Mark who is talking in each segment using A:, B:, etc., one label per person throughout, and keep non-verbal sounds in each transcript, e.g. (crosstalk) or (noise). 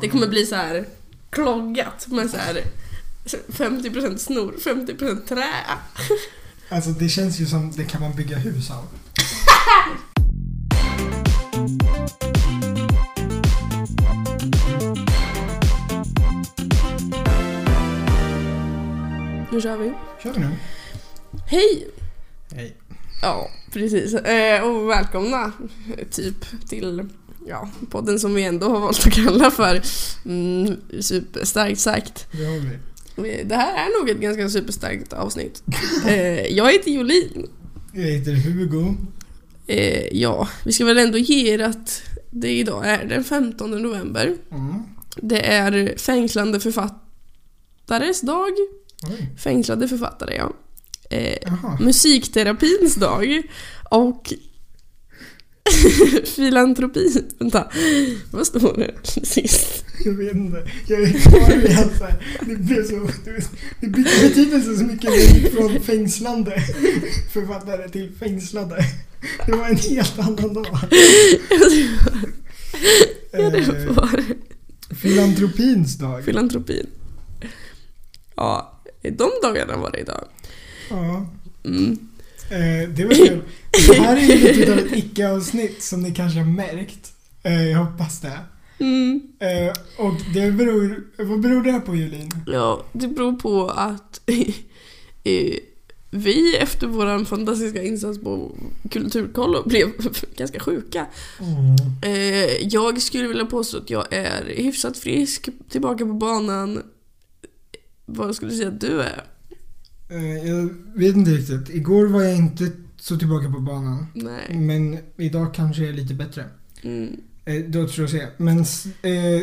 A: Det kommer bli så här kloggat med så här 50% snor, 50% trä.
B: Alltså det känns ju som det kan man bygga hus av.
A: Nu kör vi.
B: Kör vi nu.
A: Hej!
B: Hej.
A: Ja, precis. Eh, och välkomna eh, typ till ja, podden som vi ändå har valt att kalla för mm, Superstarkt sagt.
B: Det har vi.
A: Eh, Det här är nog ett ganska superstarkt avsnitt. Eh, jag heter Jolin.
B: Jag heter Hugo.
A: Eh, ja, vi ska väl ändå ge er att det idag är den 15 november.
B: Mm.
A: Det är fängslande författares dag.
B: Oj.
A: Fängslade författare, ja. Eh,
B: Jaha.
A: musikterapins dag. Och (laughs) filantropi. Vänta, vad står det sist?
B: Jag vet inte. Jag är kvar vid att så här, det blev så... Det bytte betydelse så mycket när jag gick från fängslande författare till fängslade. Det var en helt annan dag.
A: ja, det
B: Eh,
A: var det.
B: filantropins dag.
A: filantropin. Ja, de dagarna var det idag.
B: Ja.
A: Mm.
B: Eh, det var kul. Det här är ju lite av ett icke-avsnitt som ni kanske har märkt. Eh, jag hoppas det.
A: Mm.
B: Eh, och det beror... Vad beror det här på Julin?
A: Ja, det beror på att (laughs) eh, vi efter vår fantastiska insats på Kulturkollo blev (laughs) ganska sjuka. Eh, jag skulle vilja påstå att jag är hyfsat frisk, tillbaka på banan. Vad skulle du säga att du är?
B: Eh, jag vet inte riktigt. Igår var jag inte så tillbaka på banan.
A: Nej.
B: Men idag kanske jag är lite bättre.
A: Mm.
B: Eh, då tror jag se. Men s- eh,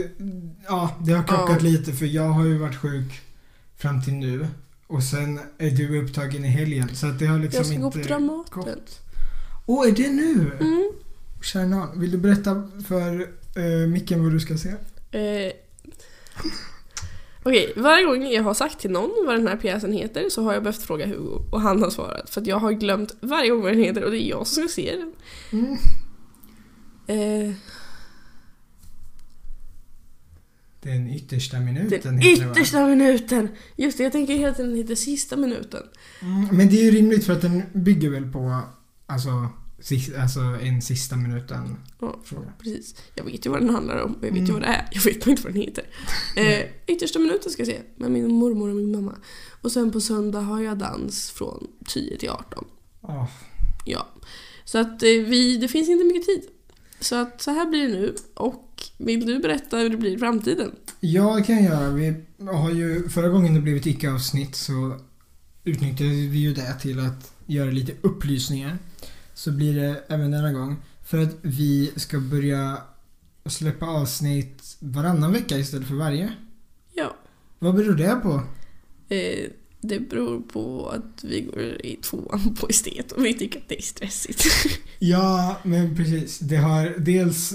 B: ja, det har krockat
A: Ja.
B: lite för jag har ju varit sjuk fram till nu. Och sen är du upptagen i helgen. Så att det har liksom
A: Jag ska gå
B: inte...
A: på Dramaten.
B: Åh, är det nu?
A: Mm.
B: Kärnan, vill du berätta för eh, micken vad du ska se?
A: Eh, Okej, varje gång jag har sagt till någon vad den här pjäsen heter så har jag behövt fråga Hugo och han har svarat för att jag har glömt varje gång vad den heter och det är jag som ska se den.
B: Mm.
A: Eh,
B: Den yttersta minuten
A: den
B: heter det, va?
A: yttersta minuten! Just det, jag tänker hela tiden heter sista minuten.
B: Mm, men det är ju rimligt för att den bygger väl på alltså, sis- alltså en sista minuten
A: Ja.
B: fråga.
A: Precis. Jag vet ju vad den handlar om och jag vet ju
B: Mm.
A: vad det är. Jag vet bara inte vad den heter. Eh, yttersta minuten ska jag se med min mormor och min mamma. Och sen på söndag har jag dans från 10 till 18.
B: Ja.
A: Ja. Så att eh, vi, det finns inte mycket tid. Så att så här blir det nu. Och vill du berätta hur det blir i framtiden?
B: Jag kan göra. Vi har ju förra gången det blev ett icke-avsnitt så utnyttjade vi ju det till att göra lite upplysningar. Så blir det även denna gång. För att vi ska börja släppa avsnitt varannan vecka istället för varje.
A: Ja.
B: Vad beror det på?
A: Eh, det beror på att vi går i tvåan på estet och vi tycker att det är stressigt. (laughs)
B: Ja, men precis. Det har dels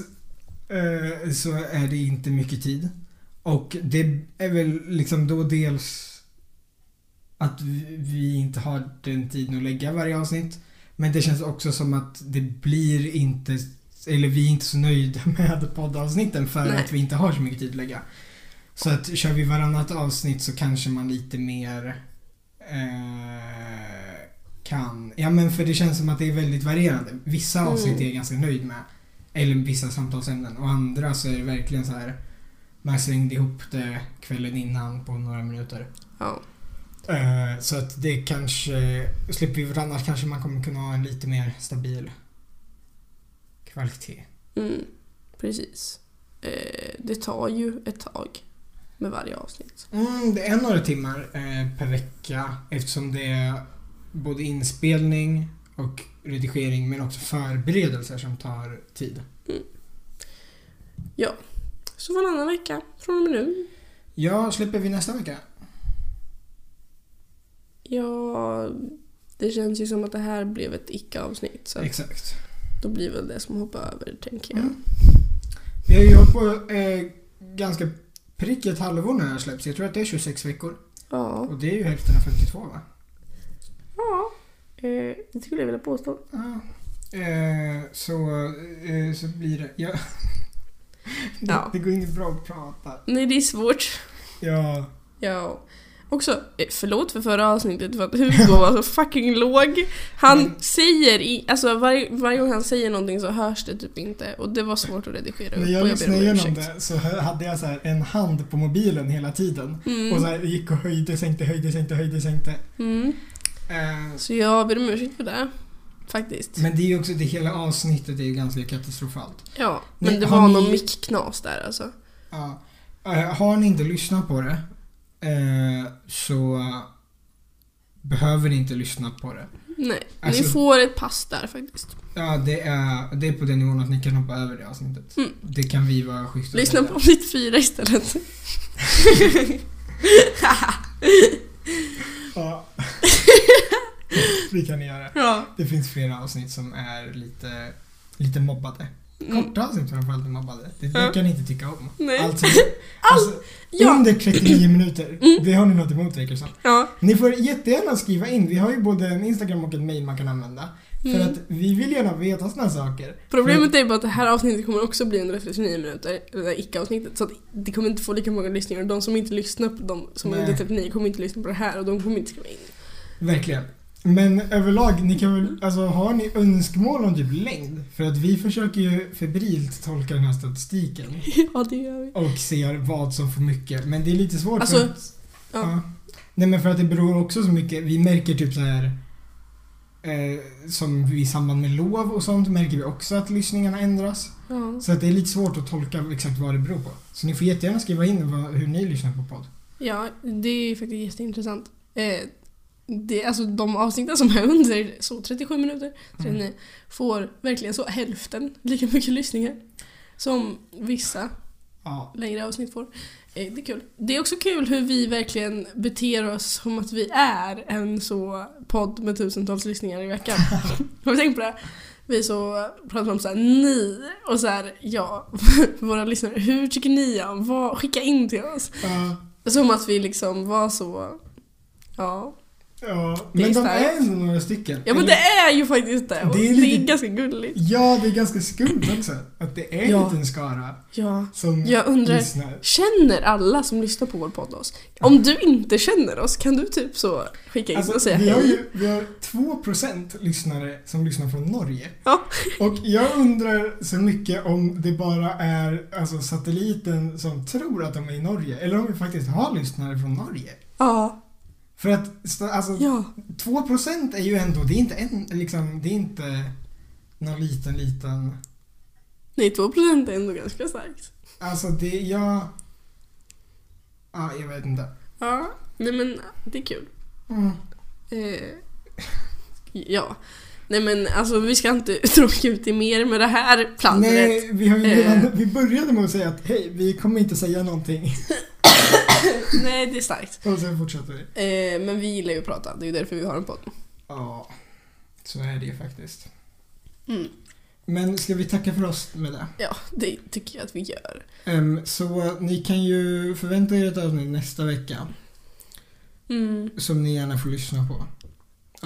B: eh, så är det inte mycket tid. Och det är väl liksom då dels att vi, vi inte har den tiden att lägga varje avsnitt. Men det känns också som att det blir inte, eller vi är inte så nöjda (laughs) med poddavsnitten för
A: Nej.
B: att vi inte har så mycket tid att lägga. Så att kör vi varannat avsnitt så kanske man lite mer eh, kan, ja men för det känns som att det är väldigt varierande. Vissa avsnitt
A: Mm.
B: är jag ganska nöjd med. Eller vissa samtalsämnen. Och andra så är det verkligen så här. Man slängde ihop det kvällen innan på några minuter.
A: ja.
B: Eh, Så att det kanske, slipper vi varandra kanske man kommer kunna ha en lite mer stabil kvalitet.
A: Mm, precis. Eh, det tar ju ett tag med varje avsnitt.
B: Mm, det är några timmar eh, per vecka eftersom det är både inspelning och redigering men också förberedelser som tar tid.
A: Så varannan vecka från och med nu.
B: Ja, släpper vi nästa vecka?
A: Ja, det känns ju som att det här blev ett icke-avsnitt så att
B: Exakt.
A: Typ. då blir väl det som hoppar över tänker jag.
B: Mm. Vi har ju hållit på eh, ganska prick ett halvår när det här släpps. Jag tror att det är 26 veckor.
A: Ja.
B: Och det är ju hälften av 52 va?
A: ja. Eh, det skulle jag vilja påstå.
B: (laughs) Ja. Eh, så, eh, så blir det. Jag,
A: Ja.
B: Det går inget bra att prata.
A: Nej, det är svårt.
B: Ja.
A: Ja. Också, eh, förlåt för förra avsnittet för att Hugo var så fucking låg. Han
B: Men-
A: säger, i, alltså varje, varje gång han säger någonting så hörs det typ inte och det var svårt att redigera upp
B: När
A: och
B: jag
A: jag ber om
B: lyssnade igenom
A: ursäkt.
B: det så hö- hade jag så här en hand på mobilen hela tiden. Och
A: Mm.
B: så här gick och höjde, sänkte, höjde, sänkte, höjde, sänkte.
A: Mm.
B: Eh,
A: Så jag ber om ursäkt för det. Faktiskt.
B: men det är ju också, det hela avsnittet är ju ganska katastrofalt.
A: Ja,
B: Nej,
A: men det
B: har
A: var
B: ni-
A: någon mickknas där alltså.
B: Ja. Eh, har ni inte lyssnat på det eh, så eh, behöver ni inte lyssna på det.
A: Nej,
B: Alltså-
A: ni får ett pass där faktiskt.
B: Ja, det är, det är på den nivån att ni kan hoppa över det avsnittet.
A: Mm.
B: Det kan vi vara schyssta
A: Lyssna
B: med.
A: på avsnitt fyra istället. (laughs)
B: Ja. det kan ni göra.
A: ja.
B: Det finns flera avsnitt som är lite, lite mobbade.
A: Mm.
B: Korta avsnitt framförallt är mobbade. Det, det
A: Ja.
B: kan ni inte tycka om.
A: Nej. (laughs)
B: Alltså,
A: Allt.
B: alltså
A: Ja.
B: under 39 minuter,
A: Mm.
B: det har ni något emot verkar det som.
A: ja.
B: Ni får jättegärna skriva in. Vi har ju både en Instagram och ett mail man kan använda. För
A: Mm.
B: att vi vill gärna veta sådana saker.
A: Problemet är bara att det här avsnittet kommer också bli 139 minuter, det där icke-avsnittet. Så att det kommer inte få lika många lyssningar. Och De som inte lyssnar på de som är
B: Nej.
A: under 39 kommer inte lyssna på det här och de kommer inte skriva in.
B: Verkligen. Men överlag, ni kan väl, alltså har ni önskemål om typ längd? För att vi försöker ju febrilt tolka den här statistiken
A: ja, det gör vi.
B: och ser vad som får mycket. Men det är lite svårt
A: Alltså,
B: för att,
A: ja.
B: Nej men för att det beror också så mycket, vi märker typ så här eh, som i samband med lov och sånt märker vi också att lyssningarna ändras.
A: Ja.
B: Så att det är lite svårt att tolka exakt vad det beror på. Så ni får jättegärna skriva in vad, hur ni lyssnar på podd.
A: ja, det är faktiskt jätteintressant. Eh, det, alltså de avsnitten som är under så 37 minuter,
B: Mm.
A: 39, får verkligen så hälften lika mycket lyssningar som vissa
B: Ja.
A: längre avsnitt får. Eh, Det är kul. Det är också kul hur vi verkligen beter oss som att vi är en så podd med tusentals lyssningar i veckan. Har du tänkt på det? Vi så pratar om så här, ni och så här, ja, (laughs) våra lyssnare. Hur tycker ni om? Vad, skicka in till oss.
B: Ja.
A: Som att vi liksom var så, ja.
B: ja.
A: Det är
B: Men de
A: starkt.
B: är ändå några stycken.
A: Ja men det är ju faktiskt det. Och
B: Det
A: det
B: är
A: är,
B: lite-
A: ganska gulligt.
B: Ja, det är ganska skumt också. Att det är en
A: Ja.
B: liten skara
A: Ja.
B: som
A: Jag undrar,
B: lyssnar.
A: Känner alla som lyssnar på vår podd oss? Om du inte känner oss, kan du typ så skicka in och
B: Alltså,
A: säga
B: vi har
A: hej?
B: ju vi har 2% lyssnare som lyssnar från Norge.
A: Ja.
B: Och jag undrar så mycket om det bara är alltså, satelliten som tror att de är i Norge. Eller om vi faktiskt har lyssnare från Norge.
A: Ja,
B: För att st- alltså,
A: ja.
B: 2% är ju ändå, det är inte en, liksom, det är inte någon liten, liten...
A: Nej, 2% är ändå ganska starkt.
B: Alltså det, jag... Ja, jag vet inte.
A: Ja, nej men det är kul.
B: Mm.
A: Eh, ja. Nej men alltså vi ska inte (laughs) tråka ut i mer med det här plandret.
B: Nej, vi, har ju redan,
A: Eh.
B: vi började med att säga att hej, vi kommer inte säga någonting. (laughs)
A: Eh, Nej. det är starkt.
B: Och sen fortsätter vi.
A: Eh, men vi gillar ju att prata, det är ju därför vi har en podd.
B: Ja, så är det ju faktiskt.
A: Mm.
B: Men ska vi tacka för oss med det?
A: Ja, det tycker jag att vi gör.
B: Ehm, så ni kan ju förvänta er ett avsnitt nästa vecka
A: Mm.
B: som ni gärna får lyssna på.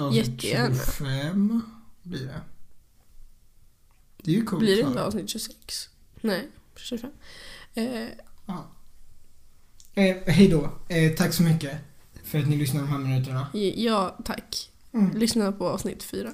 B: Avsnitt
A: Jättegärna.
B: 25 blir det. Det är ju coolt.
A: Blir det
B: va?
A: inte avsnitt 26? Nej, 25. Eh,
B: Ja. Eh, hej då. Eh, tack så mycket för att ni lyssnar de här minuterna.
A: ja, tack.
B: Mm.
A: Lyssna på avsnitt 4.